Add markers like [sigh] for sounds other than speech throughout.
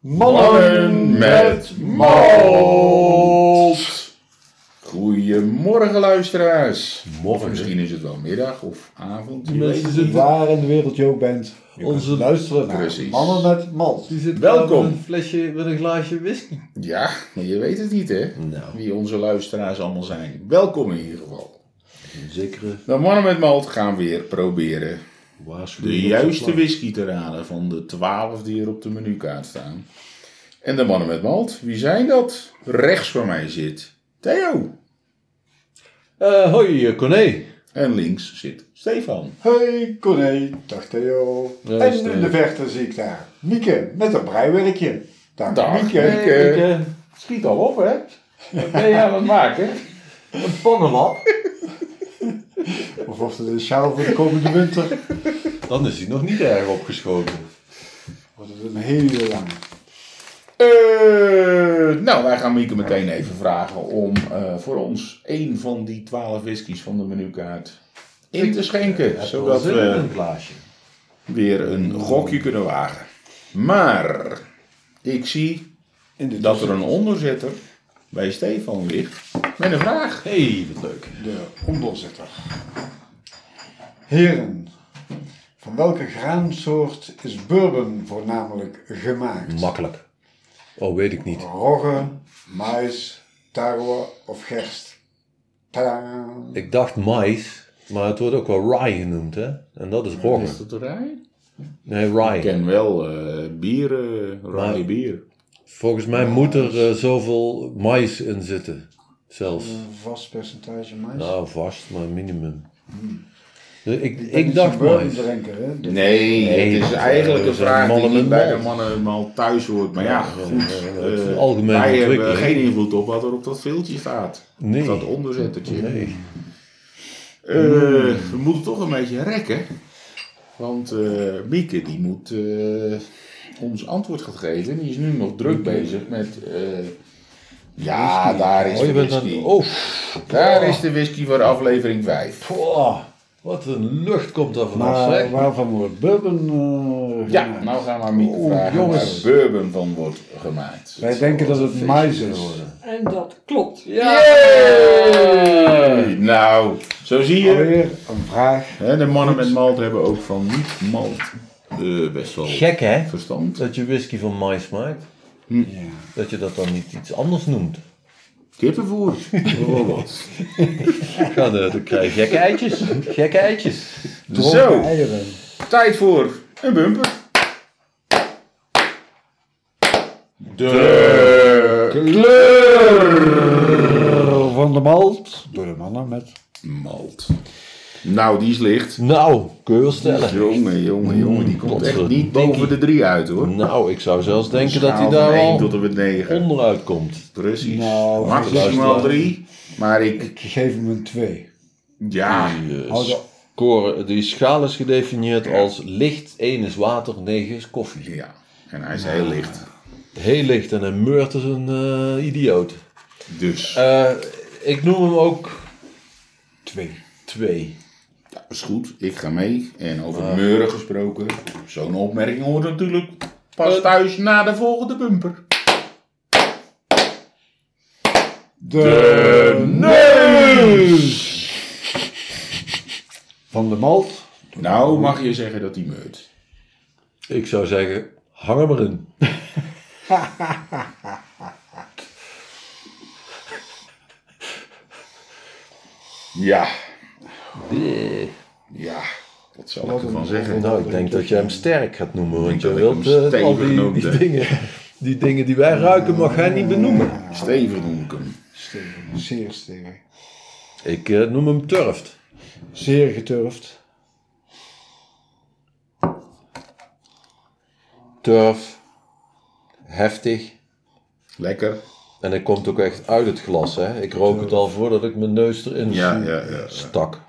Mannen met malt. Goedemorgen luisteraars. Of Morgen. misschien is het wel middag of avond. Die mensen zitten- Waar in de wereld je ook bent, Onze- luisteren naar Precies. Mannen met Malt. Die zit Welkom. met een flesje met een glaasje whisky. Ja, maar je weet het niet hè. Nou, Wie onze luisteraars allemaal zijn. Welkom in ieder geval. een zekere De Mannen met malt gaan weer proberen waarschuwing. de op juiste zijn whisky te raden van de twaalf die er op de menukaart staan. En de Mannen met malt, wie zijn dat? Rechts van mij zit Theo. plank. Eh, hoi, eh, Corné. En links zit Stefan. Hey Corné, dag Theo. Ja, en Steve. in de verte zie ik daar Mieke met een breiwerkje. Dag, Dag, Mieke. Mieke. Ik, eh, Schiet al op hè. Wat ben je aan het maken? Een pannenlap. Of of de sjaal voor de komende winter. dan is hij nog niet erg opgeschoten. Wordt het een hele lange. Eh, nou, wij gaan Mieke meteen even vragen om eh, voor ons één van die twaalf whiskies van de menukaart in te schenken. zodat Wel zin in we een glaasje. weer een gokje kunnen wagen. Maar ik zie In de, dat er een onderzetter bij Stefan ligt met een vraag. hey, wat leuk. de onderzetter. Heren, van welke graansoort is bourbon voornamelijk gemaakt? Makkelijk. Oh, weet ik niet. Rogge, mais, tarwe of gerst? Tadaa! Ik dacht mais, maar het wordt ook wel rye genoemd, hè? En dat is borgen. dat rij? Nee, Ik rye. ken wel eh bieren, rye bier. Volgens mij moet er eh, zoveel mais in zitten. Zelfs. Een vast percentage mais. Nou, vast, maar minimum. Dus ik, ben ik niet dacht zo'n bourbon mais. drinker, hè? Dus Nee, Nee, het is dat, eigenlijk eh, een zijn vraag die mannen niet met bij malt. de mannen al thuis hoort. Maar ja, Ja, goed. ja, het is eh, een algemene wij hebben ontwikkeling. geen invloed op wat er op dat filmpje staat. Nee. Of dat onderzettertje. Nee. Eh, we moeten toch een beetje rekken. Want eh, Mieke die moet eh, ons antwoord gaan geven. Die is nu nog druk Mm-hmm. bezig met... eh, ja, daar is Oh, je de bent aan whisky. het... Oh, Daar is de whisky voor aflevering 5. Pwah, wat een lucht komt er vanaf, Maar zeg. waarvan wordt bourbon eh, Ja, gemaakt? nou gaan we aan Mieke Oh, Oeh, vragen jongens. waar bourbon van wordt gemaakt. Wij denken dat het mais is. En dat klopt. Yay! Nou, zo zie je. Alweer een vraag. Hè, de mannen met malt hebben ook van niet malt eh, best wel Gek, hè? verstand. Dat je whisky van mais maakt. Ja. Dat je dat dan niet iets anders noemt. Kippenvoer, [laughs] bijvoorbeeld. Ja, dan, dan krijg je gekke eitjes. Gekke eitjes. Zo. Dronken eieren. Tijd voor een bumper. Kleur van de malt door de mannen met. Malt. Nou, die is licht. Nou, kun je wel stellen. Jongen, Mm, jongen, jongen. Die komt echt niet Godverdikkie. boven de drie uit, hoor. Nou, ik zou zelfs denken dat hij Schaal daar van één al tot en met 9. onderuit komt. Precies. Nou, Maximaal luisteraar. 3. Maar ik... Ik geef hem een 2. Ja. Die, eh, Hou zo. score, die schaal is gedefinieerd als licht, 1 is water, 9 is koffie. Ja. En hij is heel licht. Heel licht en een meurt is een eh, idioot. Dus. Eh, ik noem hem ook 2. 2. Is goed, ik ga mee. En over meuren gesproken, zo'n opmerking hoort natuurlijk pas Eh. thuis na de volgende bumper. De neus! van de malt. Nou mag je zeggen dat die meurt. Ik zou zeggen, hang hem erin. Ja, ja, wat zal ik Wat ervan een- zeggen? Nou, ik denk dat je hem sterk gaat noemen, want je dat ik wilt hem eh, stevig al die, noemde. die dingen, die dingen die wij ruiken, mag hij niet benoemen. Steven noem ik hem. Stevig, zeer stevig. Ik eh, noem hem turft. Zeer geturfd. Turf, heftig. Lekker. En hij komt ook echt uit het glas, hè. Ik rook het al voordat ik mijn neus erin Ja, ja, ja. stak.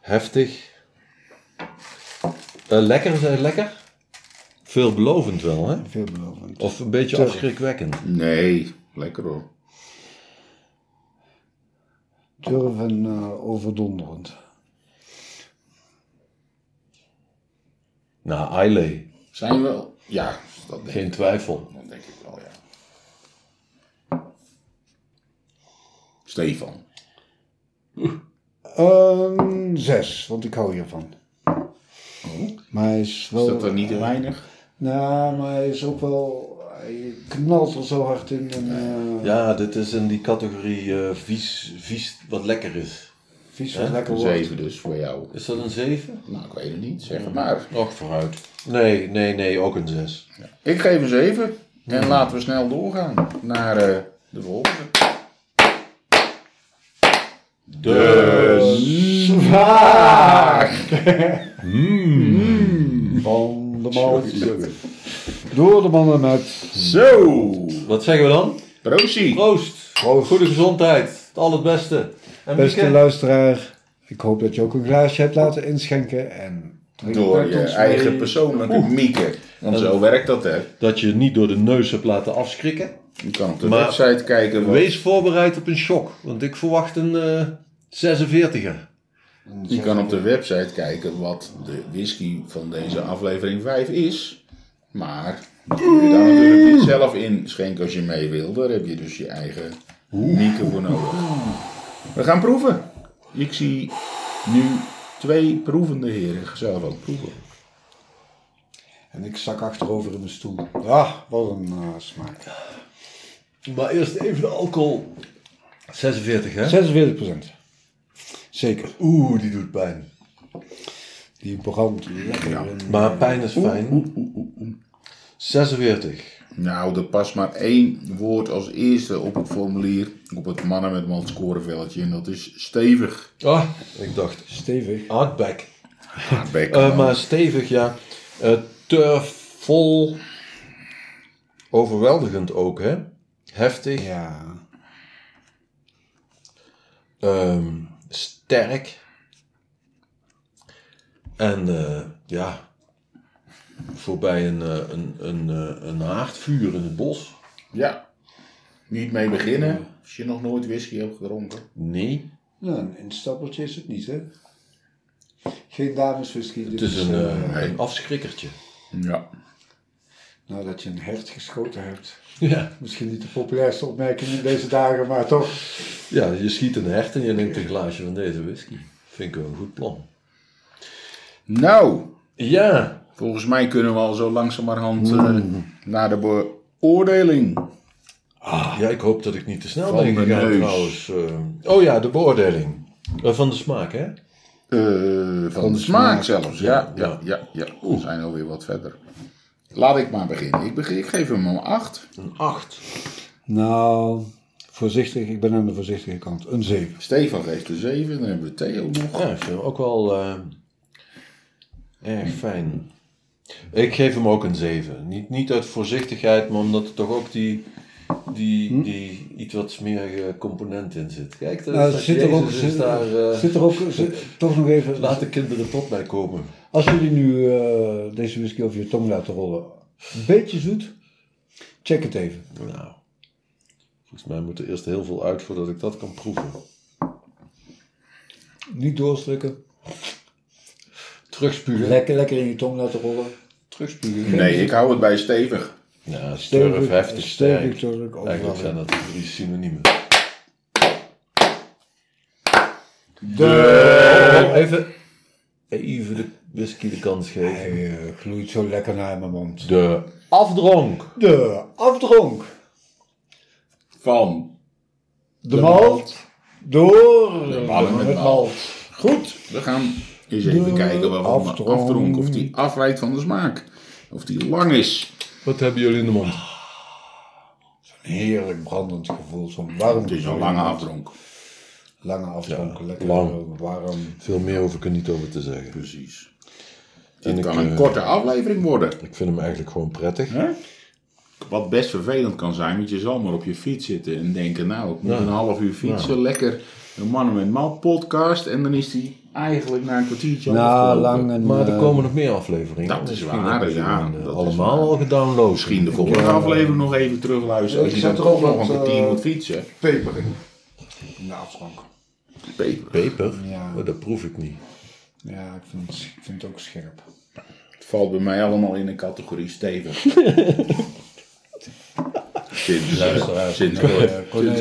Heftig. Eh, lekker, zei lekker. Veelbelovend wel, hè. Veelbelovend. Of een beetje Turf. afschrikwekkend. Nee, lekker hoor. Turf en eh, overdonderend. Nou, Islay. Zijn we... Ja, dat denk, Geen twijfel. dat denk ik wel, ja. Stefan. Ehm, zes, want ik hou hiervan. Maar hij is Oh. Is wel... dat dan niet te weinig? Nou, maar hij is ook wel... Hij knalt er zo hard in. En, eh, Ja, dit is in die categorie eh, vies, vies wat lekker is. Vies wat lekker Een wordt. zeven dus voor jou. Is dat een 7? Nou, ik weet het niet. Zeg het maar. Och, vooruit. Nee, nee, nee, ook een 6. Ik geef een 7. En laten we snel doorgaan naar eh, de volgende. Eh, Dus. Mm. [laughs] Van de man. Door de mannen met... Zo! Wat zeggen we dan? Proosie! Proost. Proost. Goede gezondheid. Het allerbeste. En Beste Mieke? luisteraar, ik hoop dat je ook een glaasje hebt laten inschenken. En drink Door met je ons eigen mee. persoonlijke mieke. Want zo werkt dat, hè. Dat je het niet door de neus hebt laten afschrikken. Je kan op de Maar- website kijken. wat- Wees voorbereid op een shock. Want ik verwacht een eh 46er. je kan op de website kijken wat de whisky van deze aflevering 5 is. Maar dat kun je daar natuurlijk niet zelf in schenken als je mee wil. Daar heb je dus je eigen mieke voor nodig. We gaan proeven. Ik zie nu twee proevende heren. Ik ga Zelf ook proeven. En ik zak achterover in mijn stoel. Ah, wat een eh, smaak. Maar eerst even de alcohol. 46, hè? 46%. Zeker. Oeh, die doet pijn. Die brandt lekker. in. Maar pijn is fijn. 46. Nou, er past maar één woord als eerste op het formulier. Op het mannen met man scoreveldje. En dat is stevig. Ah, ik dacht Stevig. hardback. Hardback, Eh, man. maar stevig, ja. Eh te vol. Overweldigend ook, hè? Heftig. Ja. ehm, sterk. En eh, ja, voorbij een, eh, een, een, eh, een haardvuur in het bos. Ja. Niet mee beginnen. Als je nog nooit whisky hebt gedronken. Nee, Nou, een instappeltje is het niet, hè? Geen dameswhisky. het is een, eh, nee. een afschrikkertje. [laughs] Ja. nou, dat je een hert geschoten hebt. Ja. Misschien niet de populairste opmerking in deze dagen, maar toch. ja, je schiet een hert en je neemt een glaasje van deze whisky. Vind ik wel een goed plan. Nou, Ja, volgens mij kunnen we al zo langzamerhand eh, naar de beoordeling. Ja, ik hoop dat ik niet te snel Ah. Van ben de gegaan neus. trouwens. Eh, oh ja, de beoordeling. Eh, van de smaak, hè? Eh, van, de smaak, zelfs. Ja, ja, ja. ja. ja, We zijn alweer wat verder. Laat ik maar beginnen. Ik, begin, ik geef hem een 8. Een 8. Nou, voorzichtig. Ik ben aan de voorzichtige kant. Een 7. Stefan geeft een 7. Dan hebben we Theo nog. Ja, ik vind hem ook wel eh, erg fijn. Ik geef hem ook een 7. Niet, niet uit voorzichtigheid, maar omdat er toch ook die, die, Hm? die iets wat smerige component in zit. Kijk, daar Nou, is dat zit er dus Jezus ook, is zit, daar... eh, zit er ook [laughs] zit- toch nog even. laat de kinderen tot mij komen. Als jullie nu eh, deze whisky over je tong laten rollen, een beetje zoet, check het even. Nou, volgens mij moet er eerst heel veel uit voordat ik dat kan proeven. Niet doorstukken. Terugspugen. Lekker, lekker in je tong laten rollen. Terugspugen. Nee, ik hou het bij stevig. Ja, sterf, heftig, sterk. stevig, sterk, overal. Eigenlijk zijn dat drie synoniemen. Oh, Even, even de whisky de kans Hij geven. eh, gloeit zo lekker naar mijn mond. De afdronk. De afdronk. Van. De, malt. Door mannen met het malt. malt. Goed, we gaan eens even De kijken waarvan de afdronk. afdronk. Of die afwijkt van de smaak. Of die lang is. Wat hebben jullie in de mond? Een heerlijk brandend gevoel. Zo'n warm Het is een gevoel. lange afdronk. Lange afdronk. lekker lang. warm. Veel meer hoef ik er niet over te zeggen. Precies. En Dit ik, kan een eh, korte aflevering worden. Ik vind hem eigenlijk gewoon prettig. Wat best vervelend kan zijn, want je zal maar op je fiets zitten en denken, nou, ik moet Ja. een half uur fietsen, lekker een mannen met man podcast en dan is die eigenlijk na een kwartiertje al Nou, afgelopen. lang en Maar er eh, komen nog meer afleveringen. Dat is Misschien waar, heb je ja, hem, eh, dat is allemaal waar. al gedownload. Misschien de volgende aflevering nog even terugluisteren als Ik je dan zat toch erop nog een dat, kwartier eh, moet fietsen. peper in. In de afdronk. Peper. Peper? Ja. Oh, dat proef ik niet. Ja, ik vind, ik vind het ook scherp. Ik valt bij mij allemaal in de [laughs] categorie stevig. Sinds, eh, sinds kort.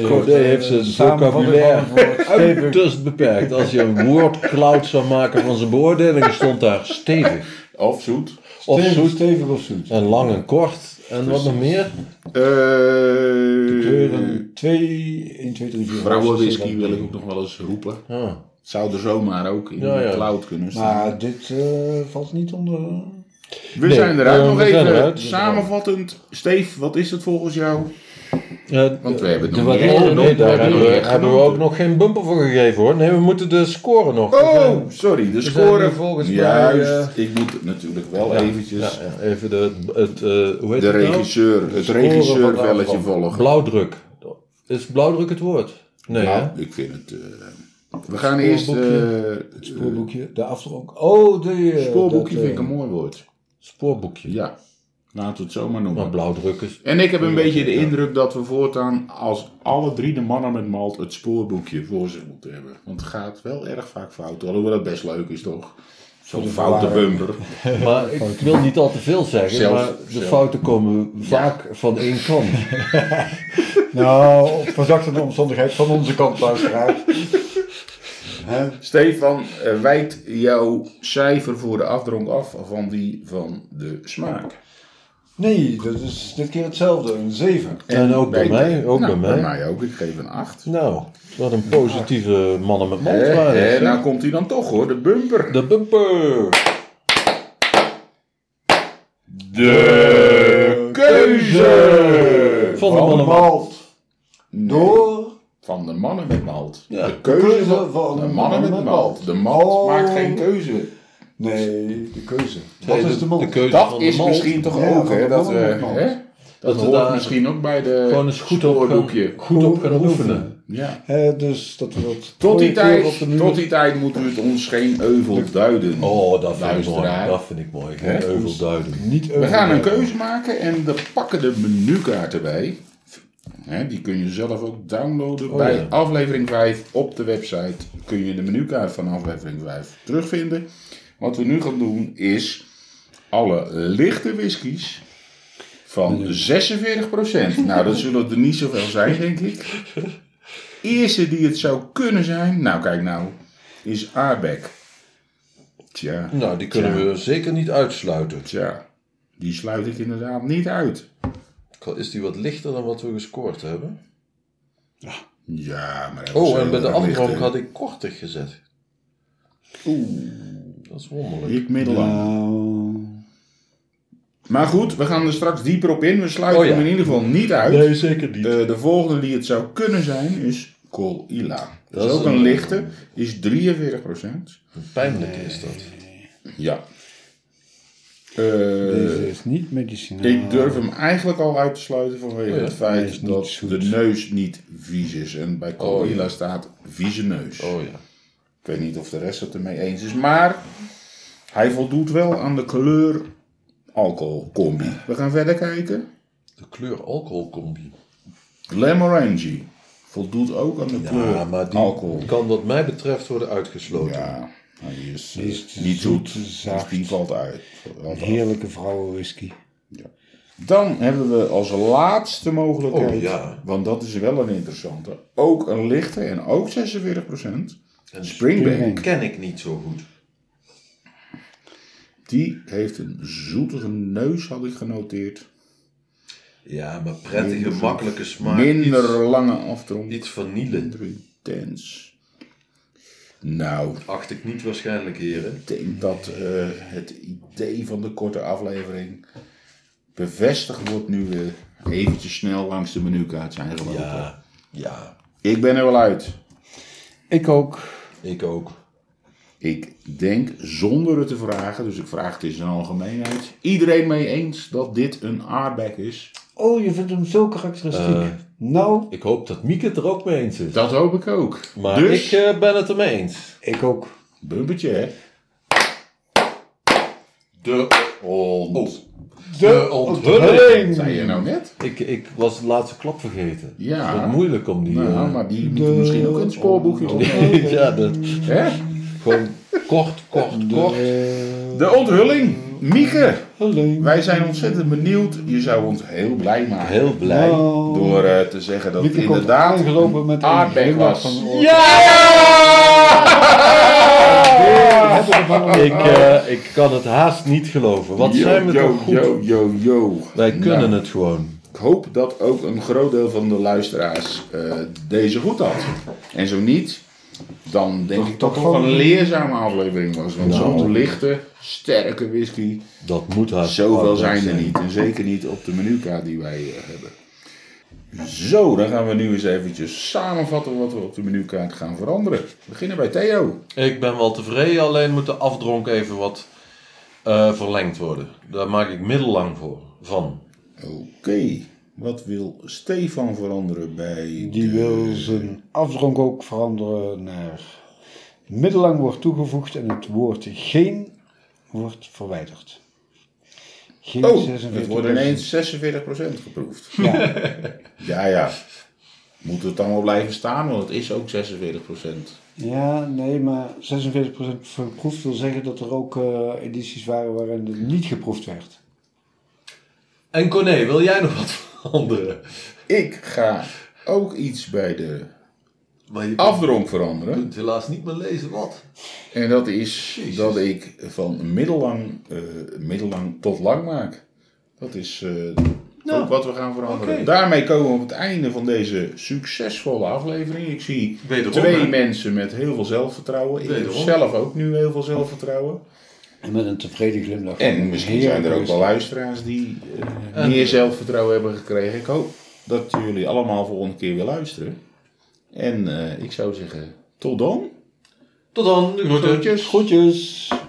Corday eh, heeft zijn vocabulaire uiterst beperkt. Als je een woordcloud zou maken van zijn beoordelingen, stond daar stevig. Of zoet. Of Stevig, zoet. Stevig of zoet. En lang en kort. En wat nog meer? Eh Kleuren 2, 1, 2, 3, 4. Brouwerwhisky Eh, wil ik ook nog wel eens roepen. Ah, Zou er zomaar ook in Ja, ja. de cloud kunnen staan. Maar dit eh, valt niet onder. we nee, zijn eruit. eh, nog we zijn even eruit. samenvattend. Steef, wat is het volgens jou? ja, Want we hebben het de nog niet waardering- echt nee, genoemd. daar hebben we, nog niet echt hebben we genoemd. ook nog geen bumper voor gegeven hoor. Nee, we moeten de score nog. Oh, sorry. De We zijn hier score. volgens mij, eh, Juist. Ik moet het natuurlijk wel Ja, eventjes. ja, ja, even de, het, eh, hoe heet De het nou? regisseur. Het Scoren van de regisseurvelletje aanval. volgen. Blauwdruk. Is blauwdruk het woord? Nee, hè? Nou, ik vind het. eh, we gaan eerst. eh Het spoorboekje, de afdronk. Oh, de. eh, spoorboekje dat, vind ik een eh, mooi woord. Spoorboekje. Ja, laten we het zomaar Maar noemen. blauwdruk is... En ik heb een beetje de indruk dat we voortaan als alle drie de mannen met malt het spoorboekje voor zich moeten hebben. Want het gaat wel erg vaak fout, alhoewel dat best leuk is toch? Zo'n de foute verwarring. bumper. Maar ik wil niet al te veel zeggen, Zelf- maar de zelf. fouten komen vaak van één [laughs] kant. Nou, op verzachtende omstandigheid van onze kant, luisteraars. Hè? Stefan, eh, wijkt jouw cijfer voor de afdronk af van die van de smaak? Nee, dat is dit keer hetzelfde. Een 7. En ook bij mij, ook nou, bij mij. ook, ik geef een 8. Nou, wat een positieve mannen met mond waren. En zeg. nou komt hij dan toch hoor, de bumper. De bumper. Eh, De Eh, keuze Van de mannen met Door. van de mannen met malt. Ja. De keuze Keuze van van de mannen met malt. De malt Oh. maakt geen keuze. Nee, de keuze. Wat is de De mond? keuze Dat van is de malt. misschien toch Ja, ook van hè, de dat we, mannen met malt. hè, dat we hoort daar misschien ook bij de Gewoon eens goed op, spoorboekje. gaan, goed op gaan oefenen. Ja. Hè, dus dat we dat Tot die projecteren op tijd, de muur. tot die tijd moeten we het ons geen euvel duiden. Oh, dat vind ik mooi. Luisteraar. Dat vind ik mooi. Geen Hè? euvel duiden. Niet We gaan een keuze maken en we pakken de menukaarten bij. Hè, die kun je zelf ook downloaden. Oh, bij ja. aflevering 5 op de website kun je de menukaart van aflevering 5 terugvinden. Wat we nu gaan doen is alle lichte whiskies van 46%. Nou, dat zullen er niet zoveel zijn, denk ik. Eerste die het zou kunnen zijn, nou kijk nou, is Arbeck. Tja. Nou, die kunnen Tja. we zeker niet uitsluiten. Tja, die sluit ik inderdaad niet uit. Is die wat lichter dan wat we gescoord hebben? Ja, maar... hij was eh, Oh, en heel bij de erg licht, afdronk hè. had ik kortig gezet. Oeh. Dat is wonderlijk. Ik middellang. Nou, Maar goed, we gaan er straks dieper op in. We sluiten Oh, ja. hem in ieder geval niet uit. zeker niet. Eh, de volgende die het zou kunnen zijn is Col Ila. Dat, Dat is is ook een- een lichte. Is 43%. Pijnlijk is dat. Ja. Eh, Dus- deze is niet medicinaal. ik durf hem eigenlijk al uit te sluiten vanwege Oh, ja. het Hij is feit niet dat zoet. de neus niet vies is. En bij Col Oh, ja. Ila staat vieze neus. Oh ja. Ik weet niet of de rest het ermee eens is, maar hij voldoet wel aan de kleur alcohol combi. We gaan verder kijken. De kleur alcoholcombi. Lamorangi voldoet ook aan de kleur Ja, maar die alcohol. kan wat mij betreft worden uitgesloten. Ja, hij is, eh, Die is te niet zoet, zoet, dus zacht. die valt uit. Een heerlijke vrouwenwhisky. Dan hebben we als laatste mogelijkheid, Oh, ja. want dat is wel een interessante, ook een lichte en ook 46%. En Springbank, Springbank. ken ik niet zo goed. die heeft een zoetige neus, had ik genoteerd. Ja, maar prettige, Minder zoet. makkelijke smaak. Minder lange afdronk. Iets, iets vanille. Minder intens. Nou, Acht ik niet waarschijnlijk, heren. ik denk dat eh, het idee van de korte aflevering bevestigd wordt nu we eventjes snel langs de menukaart zijn gelopen. Ja, ja. Ik ben er wel uit. Ik ook. Ik ook. Ik denk zonder het te vragen, dus ik vraag het in zijn algemeenheid, iedereen mee eens dat dit een aardbek is. Oh, je vindt hem zo karakteristiek. Eh. nou, Ik hoop dat Mieke het er ook mee eens is. Dat hoop ik ook. maar dus, ik eh, ben het ermee eens. ik ook. bumpertje hè. De Ont. Oh. De onthulling. Zei je nou net? Ik, ik was de laatste klap vergeten. Ja. Het is wat moeilijk om die... Nou, eh, maar die moeten we misschien ook in het spoorboekje Oh. opnemen. [laughs] ja, dat... Hè? Gewoon kort, kort, kort. eh, De onthulling Mieke, Hallo. wij zijn ontzettend benieuwd. Je zou ons heel blij maken Heel blij. Nou, door eh, te zeggen dat het Mieke komt inderdaad aangelopen met een een aardbei glimlach was. van oor. Ja! Heb ik het maar nog- Ik, eh, ik kan het haast niet geloven. Wat Yo, zijn we yo, toch goed? Yo, yo, yo. Wij kunnen Nou, het gewoon. Ik hoop dat ook een groot deel van de luisteraars eh, deze goed had. En zo niet, dan denk ik dat toch het toch gewoon- een leerzame aflevering was. Want Nou. zo'n lichte, sterke whisky, Dat moet haast. zoveel altijd zijn er niet. En zeker niet op de menukaart die wij eh, hebben. Zo, dan gaan we nu eens eventjes samenvatten wat we op de menukaart gaan veranderen. We beginnen bij Theo. Ik ben wel tevreden, alleen moet de afdronk even wat eh, verlengd worden. Daar maak ik middellang voor van. Oké, wat wil Stefan veranderen bij Die de- wil zijn afdronk ook veranderen naar middellang wordt toegevoegd en het woord geen wordt verwijderd. Geen Oh, 46 het wordt ineens 46% geproefd. Ja, [laughs] Ja, ja. Moet het dan wel blijven staan, want het is ook 46%. ja, nee, maar 46% verproefd wil zeggen dat er ook eh, edities waren waarin het niet geproefd werd. En Corné, wil jij nog wat [laughs] veranderen? Ik ga ook iets bij de Maar je afdronk veranderen. kunt helaas niet meer lezen wat. En dat is Jezus. dat ik van middellang, eh, middellang tot lang maak. Dat is eh, ook wat we gaan veranderen. Nou, oké. Daarmee komen we op het einde van deze succesvolle aflevering. Ik zie Wederom, twee hè? mensen met heel veel zelfvertrouwen. Ik heb Wederom. zelf ook nu heel veel zelfvertrouwen. En met een tevreden glimlach. En misschien zijn er ook wel luisteraars die eh, meer zelfvertrouwen hebben gekregen. Ik hoop dat jullie allemaal volgende keer weer luisteren. En eh, ik zou zeggen, tot dan. Tot dan, de groeten. Groetjes. Groetjes!